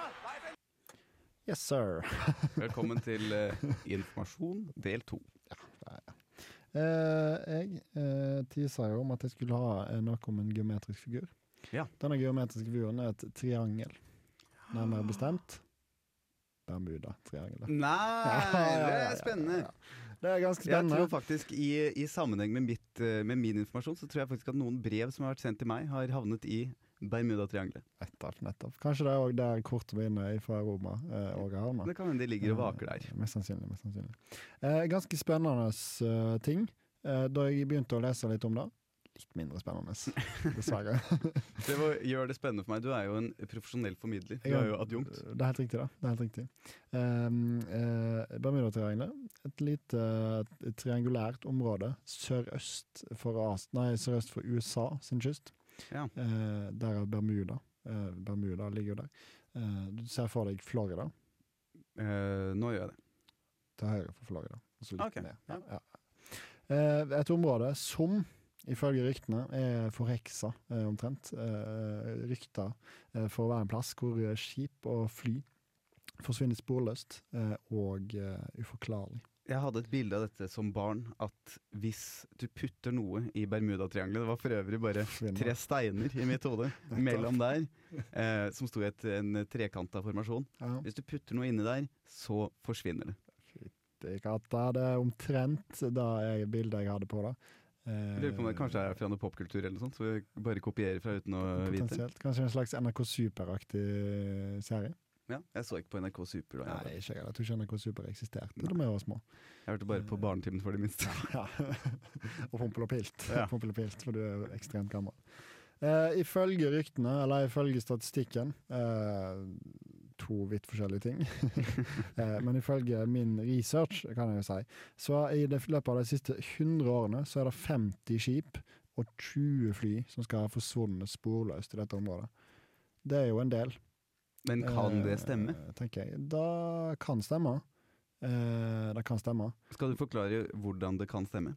Yes, sir. <laughs> Velkommen til eh, Informasjon del to. Eh, jeg eh, tisa jo om at jeg skulle ha eh, noe om en geometrisk figur. Ja. Denne geometriske figuren er et triangel. Nærmere bestemt Bermuda-triangelet. Ah. Nei, <laughs> ja, det ja, ja, er spennende. ja. Det er ganske Jeg tror spennende. faktisk i, i sammenheng med, mitt, eh, med min informasjon, så tror jeg faktisk at noen brev som har vært sendt til meg, har havnet i Bermudatriangelet. Nettopp, nettopp. Kanskje det er òg der kortet var inne fra Roma eh, og havna. Det kan hende de ligger og vaker der. Eh, Mest sannsynlig. mest sannsynlig. Eh, ganske spennende eh, ting. Eh, da jeg begynte å lese litt om det Litt mindre spennende, dessverre. Det var, gjør det spennende for meg. Du er jo en profesjonell formidler. <laughs> Du er jo adjunkt. Eh, Det er helt riktig, da. Det er helt riktig. Um, eh, Bermudatriangelet. Et lite eh, triangulært område sørøst for, As nei, sørøst for USA sin kyst. Ja. Eh, der er Bermuda. Eh, Bermuda ligger jo der. Eh, du ser for deg Florida. Eh, nå gjør jeg det. til høyre for Florida. Og så litt Ok, ned. Ja, ja. Eh, Et område som ifølge ryktene er forheksa, eh, omtrent. Eh, Rykter eh, for å være en plass hvor eh, skip og fly forsvinner sporløst eh, og eh, uforklarlig. Jeg hadde et bilde av dette som barn, at hvis du putter noe i Bermudatriangelet Det var for øvrig bare Forsvinner. tre steiner i mitt <laughs> hode mellom der, eh, som sto i et, en trekanta formasjon. Ja. Hvis du putter noe inni der, så forsvinner det. Det er at det er omtrent da jeg, bildet jeg hadde på det. Jeg Lurer på om det kanskje er fra noe popkultur eller noe sånt, så vi bare kopierer fra uten å vite. Potensielt. Kanskje en slags NRK Super-aktig serie. Ja, jeg så ikke på NRK Super da. Nei, Jeg, ikke jeg. Jeg tror ikke NRK Super eksisterte da vi var små. jeg hørte bare på Barnetimen for de minste. <laughs> Ja. og Pompel og Pilt. Ja. Pompel og Pilt, for du er jo ekstremt gammel. Eh, ifølge ryktene, eller ifølge statistikken eh, To vidt forskjellige <laughs> ting. eh, men ifølge min research, kan jeg jo si, så i det- løpet av de siste 100 årene så er det 50 skip og 20 fly som skal ha forsvunnet sporløst i dette området. Det er jo en del. Men kan det stemme? Eh, tenker jeg. Da kan stemme. Eh, det kan stemme. Skal du forklare hvordan det kan stemme?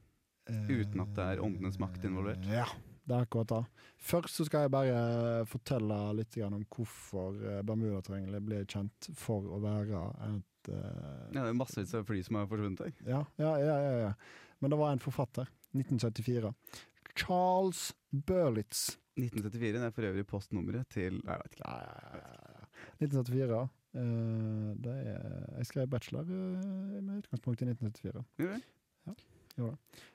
Uten at det er åndenes makt involvert? Ja, det er akkurat det. Først så skal jeg bare fortelle litt grann om hvorfor eh, Bermudatriangelet ble kjent for å være et eh, Ja, det er massevis av fly som har forsvunnet der. ja, ja, ja, ja, ja. Men det var en forfatter. 1974. Charles Burlitz. 1974 det er for øvrig postnummeret til Nei, jeg vet ikke. Ja, ja, ja, ja. 1974. eh, det er, jeg skrev bachelor eh, med utgangspunkt i 1974. Gjorde du?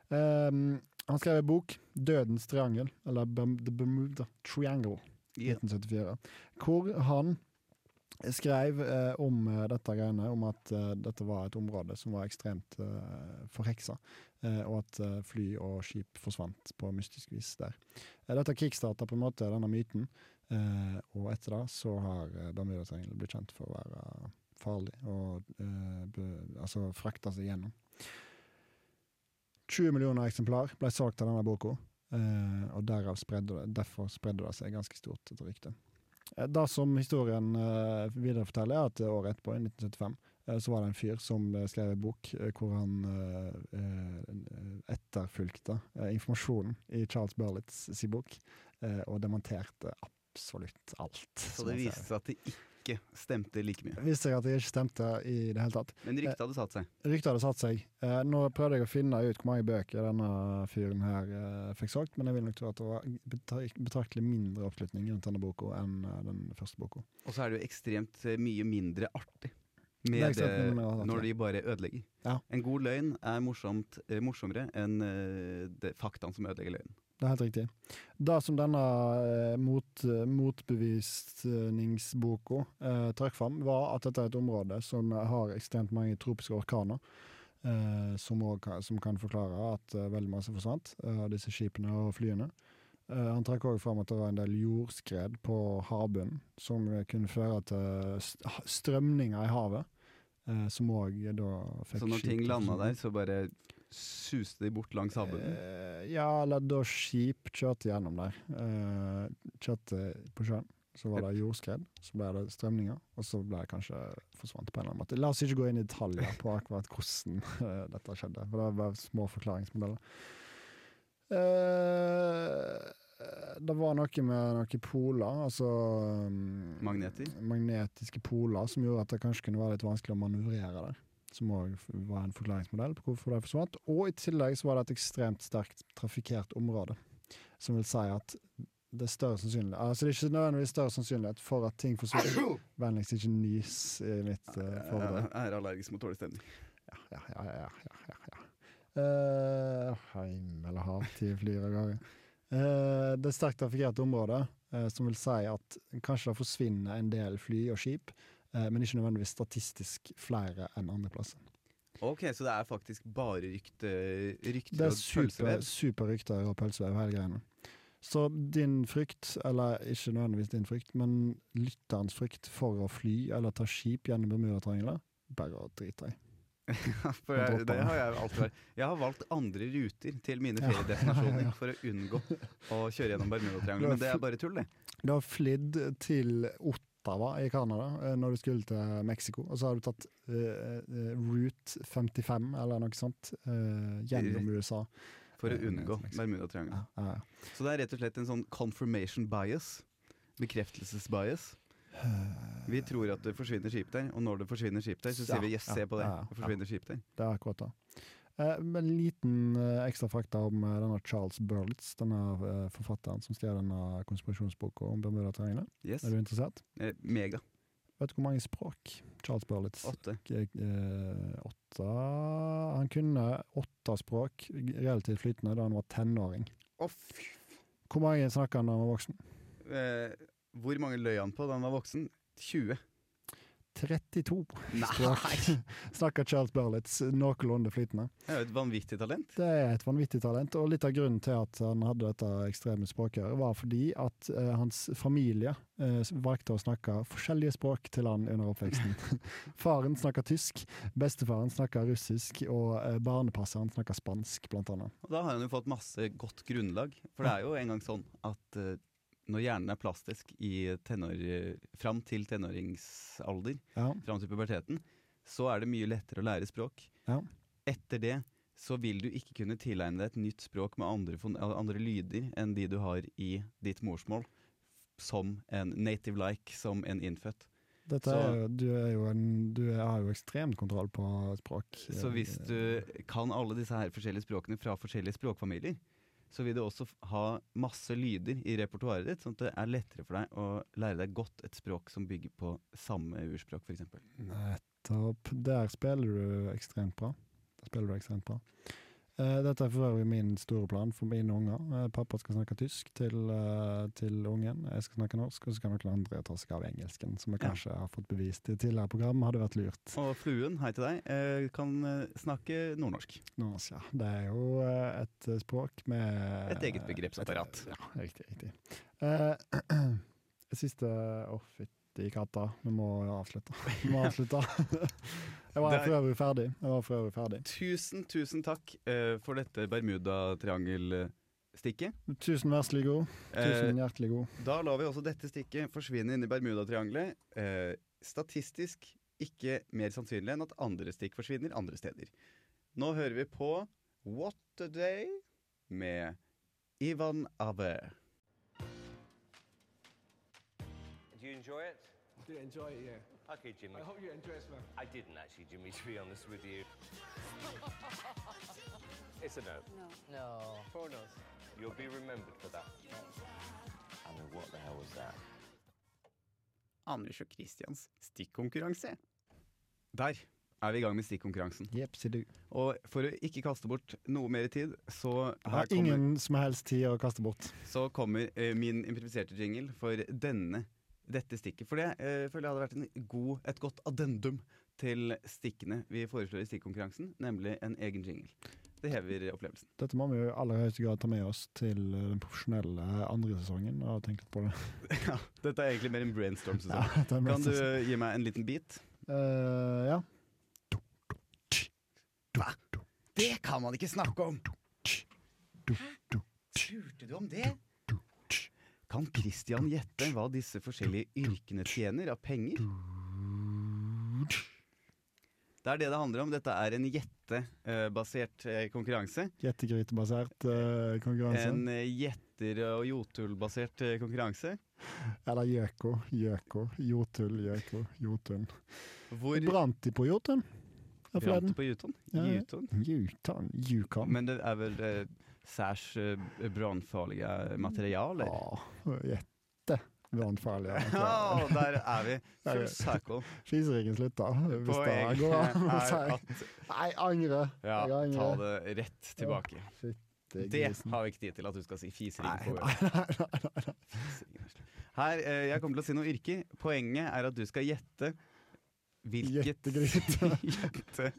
Ehm, han skrev en bok, 'Dødens triangel', eller Berm- The Bermuda Triangle. Ja. 1974, hvor han skrev eh, om eh, dette greiene, om at eh, dette var et område som var ekstremt eh, forheksa, eh, og at eh, fly og skip forsvant på mystisk vis der. Eh, dette kickstarta på en måte denne myten, eh, og etter det så har eh, Bermudatriangelet blitt kjent for å være farlig, og eh, be, altså frakta seg gjennom. 20 millioner eksemplar ble solgt av denne boka. Eh, og derav spredde det, derfor spredde det seg ganske stort et rykte. Eh, Det som historien eh, videreforteller, er at eh, året etterpå, i 1975, eh, så var det en fyr som eh, skrev en bok eh, hvor han eh, eh, etterfulgte eh, informasjonen i Charles Burlitz si bok, eh, og demonterte absolutt alt. Så det viste seg at det ikke stemte like mye. viste seg at det ikke stemte i det hele tatt. Men ryktet hadde satt seg. Ryktet hadde satt seg. Eh, nå prøvde jeg å finne ut hvor mange bøker denne fyren her eh, fikk solgt, men jeg vil nok tro at det var betra- betraktelig mindre oppslutning rundt denne boka enn eh, den første boka. Og så er det jo ekstremt eh, mye mindre artig Det er med det, ekstremt mye mindre artig. når de bare ødelegger. Ja. En god løgn er morsomt, eh, morsommere enn eh, det, faktaen som ødelegger løgnen. Det er helt riktig. Det som denne eh, mot, motbevisningsboka eh, trakk fram, var at dette er et område som har ekstremt mange tropiske orkaner. Eh, som, også, kan- som kan forklare at eh, veldig masse forsvant eh, av disse skipene og flyene. Eh, han trakk òg fram at det var en del jordskred på havbunnen som kunne føre til st strømninger i havet. Eh, som òg da fikk Så når skip ting til å landa forsvinne. der, så bare suste de bort langs havbunnen. Eh, ja, eller da skip kjørte gjennom der. Eh, kjørte på sjøen. Så var det jordskred, så ble det strømninger, og så ble det kanskje forsvant på en eller annen måte. La oss ikke gå inn i detaljer på akkurat hvordan eh, dette skjedde, for det var små forklaringsmodeller. Eh, det var noe med noen poler, altså mm, Magneter? Magnetiske poler som gjorde at det kanskje kunne være litt vanskelig å manøvrere der som òg var en forklaringsmodell på hvorfor de forsvant. Og i tillegg så var det et ekstremt sterkt trafikkert område, som vil si at det er større sannsynlighet Altså det er ikke nødvendigvis større sannsynlighet for at ting forsvinner. Vennligst ikke nys i mitt uh, Jeg foredrag. er allergisk mot dårlig stemning. Ja, ja, ja, ja, ja, ja, ja. Eh, heim eller hav, ti flyr av gårde. Eh, det er sterkt trafikkert område, eh, som vil si at kanskje det forsvinner en del fly og skip, eh, men ikke nødvendigvis statistisk flere enn andre plasser. Ok, Så det er faktisk bare rykte, rykter Det og er super, pølsevev? superrykter og pølsevev, hele greiene. Så din frykt, eller ikke nødvendigvis din frykt, men lytterens frykt for å fly eller ta skip gjennom Bermudatriangelet, bare å drite i. Ja, <laughs> For Jeg jeg, dropper det det. har jeg alltid vært. Jeg har valgt andre ruter til mine Ja. feriedestinasjoner <laughs> Ja. for å unngå å kjøre gjennom Bermudatriangelet, men det er bare tull, det. Du har flydd til Ottawa i Canada eh, når du skulle til Mexico, og så har du tatt eh, eh, Route 55 eller noe sånt eh, gjennom USA. For å Ja, men unngå det er så Bermudatriangelet. Ja, ja, ja. Så det er rett og slett en sånn confirmation bias. Bekreftelsesbias. Eh, Vi tror at det forsvinner skip der, og når det forsvinner skip der, så sier Ja, vi yes, ja, se på det. ja, ja. Det forsvinner skip der. Det er akkurat det. Eh, men en liten eh, ekstra fakta om eh, denne Charles Burlitz, denne eh, forfatteren som skrev denne konspirasjonsboka om Bermudatriangelet. Yes. Er du interessert? Eh, Mega. Vet du hvor mange språk Charles Burlitz Åtte. eh, Åtte Han kunne åtte språk relativt flytende da han var tenåring. Å, fy. Hvor mange snakka han da han var voksen? Eh, hvor mange løy han på da han var voksen? 20. 32 Nei! <laughs> snakker Charles Berlitz noenlunde flytende. Det er jo et vanvittig talent. Det er et vanvittig talent, og litt av grunnen til at han hadde dette ekstreme språket, var fordi at eh, hans familie eh, valgte å snakke forskjellige språk til han <laughs> under oppveksten. Faren snakka tysk, bestefaren snakka russisk, og eh, barnepasseren snakka spansk, blant annet. Og da har han jo fått masse godt grunnlag. For det er jo en gang sånn at eh, når hjernen er plastisk i tenår, eh, fram til tenåringsalder, Ja. fram til puberteten, så er det mye lettere å lære språk. Ja. Etter det så vil du ikke kunne tilegne deg et nytt språk med andre, fon- andre lyder enn de du har i ditt morsmål, som en native-like, som en innfødt. Dette Så- er jo, du, er jo en, du har jo ekstremt kontroll på språk. eh, Så hvis du kan alle disse her forskjellige språkene fra forskjellige språkfamilier, så vil du også f- ha masse lyder i repertoaret ditt, sånn at det er lettere for deg å lære deg godt et språk som bygger på samme urspråk, f.eks. Nettopp. Der spiller du ekstremt bra. Der spiller du ekstremt bra. Eh, dette er for øvrig min store plan for mine unger. Eh, pappa skal snakke tysk til, eh, til ungen. Jeg skal snakke norsk, og så skal noen andre ta seg av engelsken, som jeg Ja. kanskje har fått bevist i tidligere program hadde vært lurt. Og fluen, hei til deg, eh, kan eh, snakke nordnorsk. Norsk, ja. Det er jo eh, et eh, språk med Eh, Et eget sånn begrepsapparat. Et- Ja, riktig. riktig. Eh, <clears throat> siste Å, fytti katta. Vi må avslutte. Vi må <laughs> avslutte. jeg var Der- for øvrig ferdig. Jeg var for øvrig ferdig. Tusen, tusen takk eh, for dette Bermudatriangelstikket. Tusen vær så god. Eh, Tusen hjertelig god. Da lar vi også dette stikket forsvinne inn i Bermudatriangelet. Eh, statistisk ikke mer sannsynlig enn at andre stikk forsvinner andre steder. Nå hører vi på What a Day med Ivan Ave. Do you enjoy it? Do enjoy it, yeah. Okay, Jimmy. I hope you enjoy it, man. I didn't actually, Jimmy, <laughs> to be honest with you. it's a no. No. Four notes. You'll be remembered for that. I mean, what the hell was that? Anders og Christians stikkonkurranse. Der er vi i gang med stikkonkurransen. Jepsi du. Og for å ikke kaste bort noe mer tid, så Jeg her har kommer, ingen som helst tid å kaste bort. så kommer eh, min improviserte jingle for denne, dette stikket. For det eh, føler jeg hadde vært en god, et godt addendum til stikkene vi foreslår i stikkonkurransen, nemlig en egen jingle. Det hever opplevelsen. Dette må vi jo i aller høyeste grad ta med oss til eh, den profesjonelle andre sesongen. og tenke litt på det. ja, dette er egentlig mer en brainstorm-sesong. <laughs> Ja, det er Kan mest du sannsynlig. eh, gi meg en liten bit? Eh, ja. Det kan man ikke snakke om! Du, du. Turte du om det? Kan Christian gjette hva disse forskjellige yrkene tjener av penger? Det er det det handler om. Dette er en gjettebasert eh, konkurranse. Gjettegrytebasert eh, konkurranse. En eh, gjetter- og jotulbasert eh, konkurranse. Eller Gjøko. Gjøko. Jotul, Gjøko, Jotun. Hvor Brant de på Jotun? her brant det Forleden. på Jutun? Ja, ja. Jutun? Jutan. Jukan. Men det er vel eh, særs eh, brannfarlige eh, materialer? Ja, Jette. Brannfarlig. <laughs> Ja, der er vi. Der er Full vi. circle. Fiseringen slutta, hvis det Poenget går an å er si. at Nei, angre. Ja, Jeg ta angrer. det rett tilbake. Det, Det grisen. har vi ikke tid til at du skal si fisering. Nei, på nei, nei, nei, nei. Fisering er slutt. Her, eh, jeg kommer til å si noe yrke. Poenget er at du skal gjette hvilket Gjettegryte. <laughs> Gjette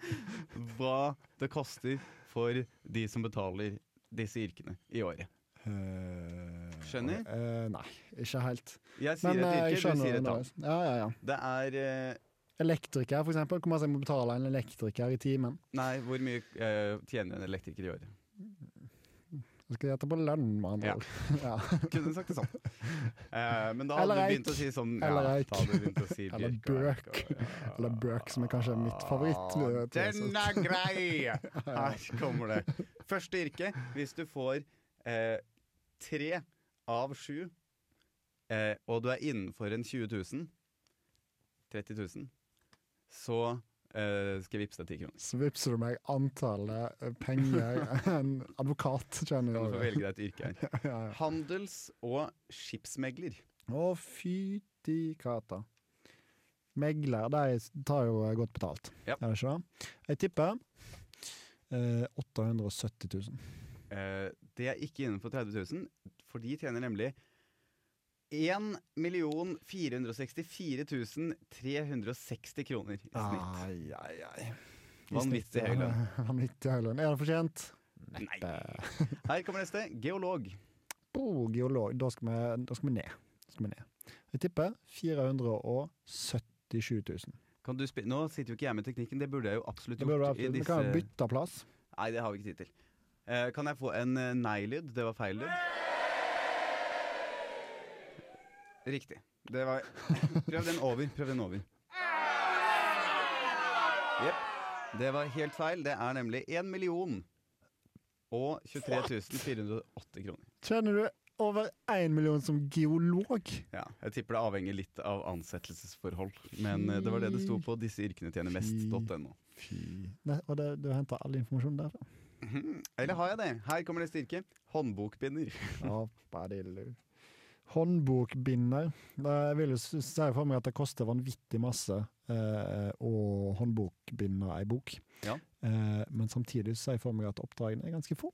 hva det koster for de som betaler disse yrkene i året. Eh, Skjønner? eh, nei, ikke helt. Jeg sier Men eh, et jeg yrke, du skjønner sier et det. tall. Ja, ja, ja. Det er eh, Elektriker, for eksempel. Hvor mye skal jeg må betale en elektriker i timen? Nei, hvor mye eh, tjener en elektriker i året? Jeg skal gjette på lønn, med Ja. andre ord. <laughs> Ja. Kunne sagt det sånn. Eh, men da hadde du Eller eik. begynt å si sånn Eller eik. da hadde du begynt å si <laughs> Eller bjørk og eik bøk. og- ja. Eller bøk, som er kanskje mitt favoritt, Ah, eh, til Den slutt. er <laughs> grei! Her kommer det. Første yrke, hvis du får eh, tre av sju, eh, og du er innenfor en 20 000 30 000, så eh, skal jeg vippse deg 10 kroner. Så vippser du meg antallet eh, penger <laughs> <laughs> en advokat Kan tjener i du få året. velge deg et yrke her. <laughs> Ja, ja. Handels- og skipsmegler. Å, fytti kata. Megler, de tar jo eh, godt betalt, Ja. er det ikke det? Jeg tipper eh, 870 000. Eh, det er ikke innenfor 30 000, for de tjener nemlig 1.464.360 kroner i Ah, snitt. Ai, ai, ai. I Vanvittig snitt, høy lønn. ja. <laughs> Vanvittig høy lønn. Er det Eh, fortjent? Nei. Her kommer neste. Geolog. Bo, oh, geolog. Da skal vi, da skal vi ned. Da skal vi ned. Jeg tipper 477 000. Kan du spi Nå sitter jo ikke jeg med teknikken, det burde jeg jo absolutt Det burde gjort. vært- i Vi disse... kan jo bytte plass. Nei, det har vi ikke tid til. Eh, kan jeg få en eh, nei-lyd? Det var feil lyd. Riktig. Det var <laughs> Prøv den over. Prøv den over. Jepp. Det var helt feil. Det er nemlig 1 million og 23 408 kroner. Tjener du over én million som geolog? Ja, jeg tipper det avhenger litt av ansettelsesforhold. Men eh, det var det det sto på 'disse yrkene tjener mest.no'. Fy. Nei, og det, du henter all informasjon derfra? Eller har jeg det? Her kommer neste yrke. Håndbokbinder. Ja, badillu. Håndbokbinder. Det- Jeg vil jo s- si for meg at det koster vanvittig masse eh, å håndbokbinde ei bok. Ja. Eh, men samtidig så sier jeg for meg at oppdragene er ganske få.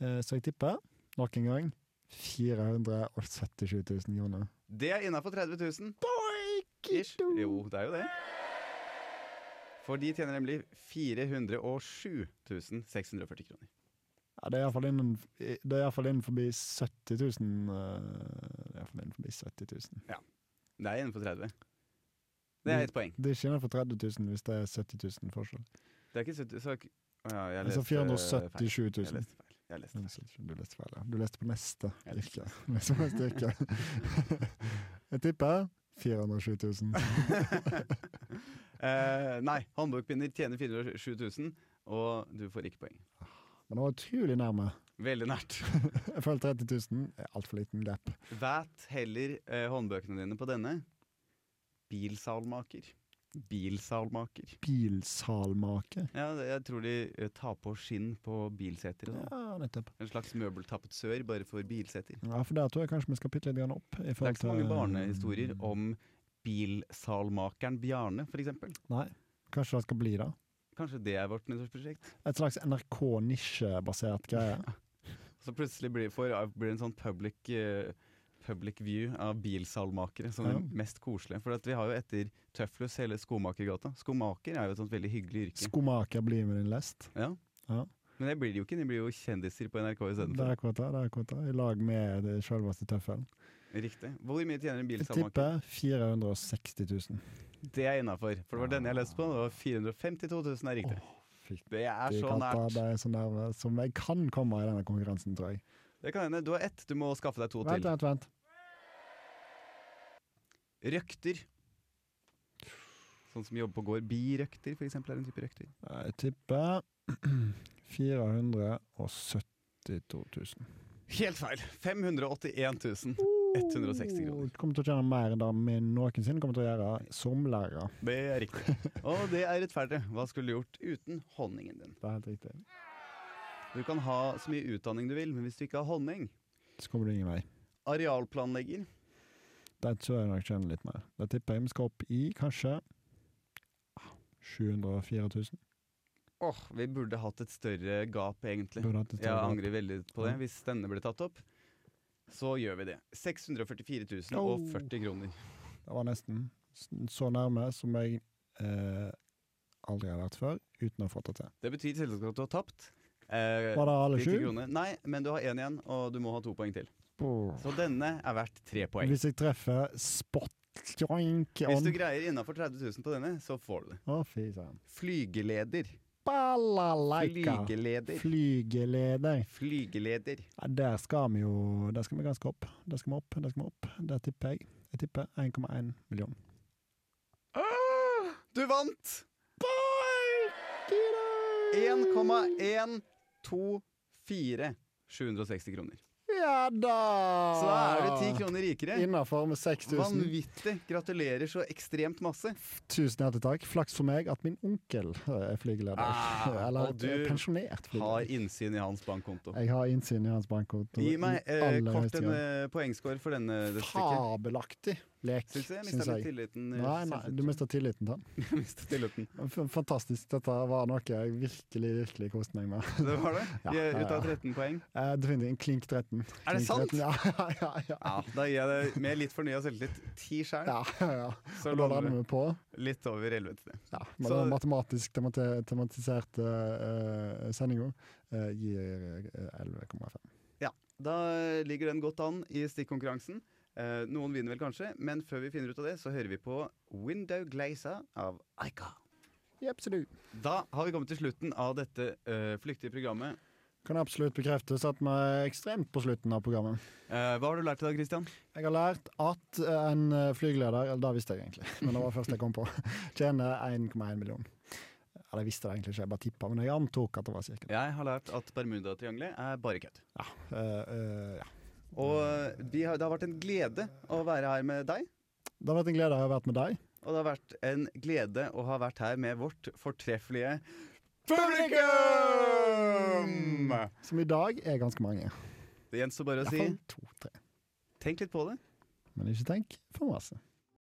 Eh, så jeg tipper, nok en gang, 477 000 kroner. Det er innafor 30 000. Ish. Jo, det er jo det. For de tjener nemlig 407 640 kroner. Ja, det er iallfall innen, det er i hvert fall innenfor 70 000. eh, det er i hvert fall innenfor 70 000. Det er innenfor 30. Det er ett poeng. Det er ikke innenfor 30 000 hvis det er 70 000 forskjell. Det er ikke 70 så, Å ja, jeg Altså leste, eh, feil. Jeg 477 000. leste feil. Jeg leste Men feil. så- Du leste feil, ja. Du leste på neste Jeg leste yrke. <laughs> Du leste på neste <laughs> yrke. Jeg tipper 407 000. <laughs> Eh, nei, håndbokbinder tjener 407 000, og du får ikke poeng. Men det var utrolig nærme. Veldig nært. Jeg føler 30 000 er altfor liten gap. Væt heller eh, håndbøkene dine på denne. Bilsalmaker. Bilsalmaker. Bilsalmake. Ja, det- jeg tror de eh, tar på skinn på bilseter og sånn. Ja, nettopp. En slags møbeltapetsør bare for bilseter. Ja, for der tror jeg kanskje vi skal pitte litt grann opp. i Det er forhold ikke så mange til- eh, barnehistorier om bilsalmakeren Bjarne, f.eks. Nei. Kanskje det skal bli det. Kanskje det er vårt nyttårsprosjekt? Et slags NRK-nisjebasert <laughs> greie. Så plutselig blir for, blir det en sånn public, eh, public view av bilsalmakere som Ja. det mest koselige. For at vi har jo etter Tøflus hele Skomakergata. Skomaker er jo et sånt veldig hyggelig yrke. Skomaker blir med din lest. Ja. Ja. Men det blir de jo ikke, de blir jo kjendiser på NRK Det istedenfor. er kvota, det er kvota. I lag med det selveste tøffelen. Riktig. Hvor mye tjener en Jeg bilsalmaker? tipper 460 000. Det er innafor. For det var denne jeg leste på, det var 452 000 er riktig. Fy Det er De så katta, nært. De er så nærme som jeg kan komme i denne konkurransen, tror jeg. Det kan hende. Du har ett, du må skaffe deg to Vent, til. vent, vent. Røkter. Sånn som jobber på gård. Birøkter, for eksempel, er en type røkter. Jeg tipper <clears throat> 472 000. Helt feil! 581 000. 160 kroner. Du kommer til å tjene mer enn det vi noensinne kommer til å gjøre som lærere. Det er riktig. Og det er rettferdig. Hva skulle du gjort uten honningen din? Det er helt riktig. Du kan ha så mye utdanning du vil, men hvis du ikke har honning Så kommer du ingen vei. Arealplanlegger. Der tror jeg nok tjener litt mer. Da tipper jeg vi skal opp i kanskje ah, 704 000. Åh, vi burde hatt et større gap, egentlig. Burde hatt et Jeg større gap. angrer veldig på det. Hvis denne ble tatt opp, så gjør vi det. 644 040 kroner. Det var nesten s- så nærme som jeg eh, aldri har vært før, uten å ha fått det til. Det betyr selvsagt at du har tapt. Eh, Var det alle 90 sju? kroner. Nei, men du har én igjen, og du må ha to poeng til. Brr. Så denne er verdt tre poeng. Hvis jeg treffer spot joink Hvis on du greier innafor 30 000 på denne, så får du det. Å, fy søren. Flygeleder. Balalaika! Flygeleder. Flygeleder. Flygeleder. Ja, der skal vi jo Der skal vi ganske opp. Der skal vi opp, der skal vi opp. Der tipper jeg. Jeg tipper 1,1 million. Ah! Du vant! 1,124 760 kroner. Ja da! Så da er du Ah. 10 kroner rikere. Innafor med 6000. Vanvittig. Gratulerer så ekstremt masse. Tusen hjertelig takk. Flaks for meg at min onkel eh, er flygeleder. Ah, <laughs> Eller og du pensjonert Har flygeleder. innsyn i hans bankkonto. Jeg har innsyn i hans bankkonto. Gi i meg eh, aller kort høyeste en grad. eh, poengscore for denne. dette stykket. Fabelaktig. lek, Syns jeg. syns Mista litt jeg. tilliten. eh, i Nei, nei, <laughs> du selvtillit. mister tilliten til den. Mistet tilliten. F- Fantastisk. Dette var noe jeg virkelig virkelig koste meg med. Det var det? Ja, Jeg- ja, Ut av ja. 13 poeng? Eh, Definitivt en klink 13. Er det Klink sant? 13, Ja, <laughs> ja, ja. ja. Ja, da gir jeg det med litt fornya selvtillit ti sjøl, ja, ja, ja. så Og da lander lander du vi på litt over 11 til det. ja, men Så- den matematisk temati- tematiserte uh, sendinga gir eh, 11,5. Da eh, ligger den godt an i stikkonkurransen. Eh, noen vinner vel kanskje, men før vi finner ut av det, så hører vi på Window Glazer av Aika. Jepp, sier du. Da har vi kommet til slutten av dette eh, flyktige programmet. Kan absolutt bekreftes at vi er ekstremt på slutten av programmet. Eh, hva har du lært i dag, Christian? Jeg har lært at en eh, flygeleder, eller det visste jeg egentlig, <laughs> men det var først jeg kom på, tjener 1,1 million. Eller jeg visste det egentlig ikke, jeg bare tippa, men jeg antok at det var cirka det. Jeg har lært at Bermudatriangelet er bare kødd. Ja, eh, eh, ja. Og eh, vi har, det har vært en glede å være her med deg. Det har vært en glede å ha vært med deg. Og det har vært en glede å ha vært her med vårt fortreffelige publikum! Som i dag er ganske mange. I Det gjenstår bare å hvert si fall to-tre. tenk litt på det. Men ikke tenk for masse.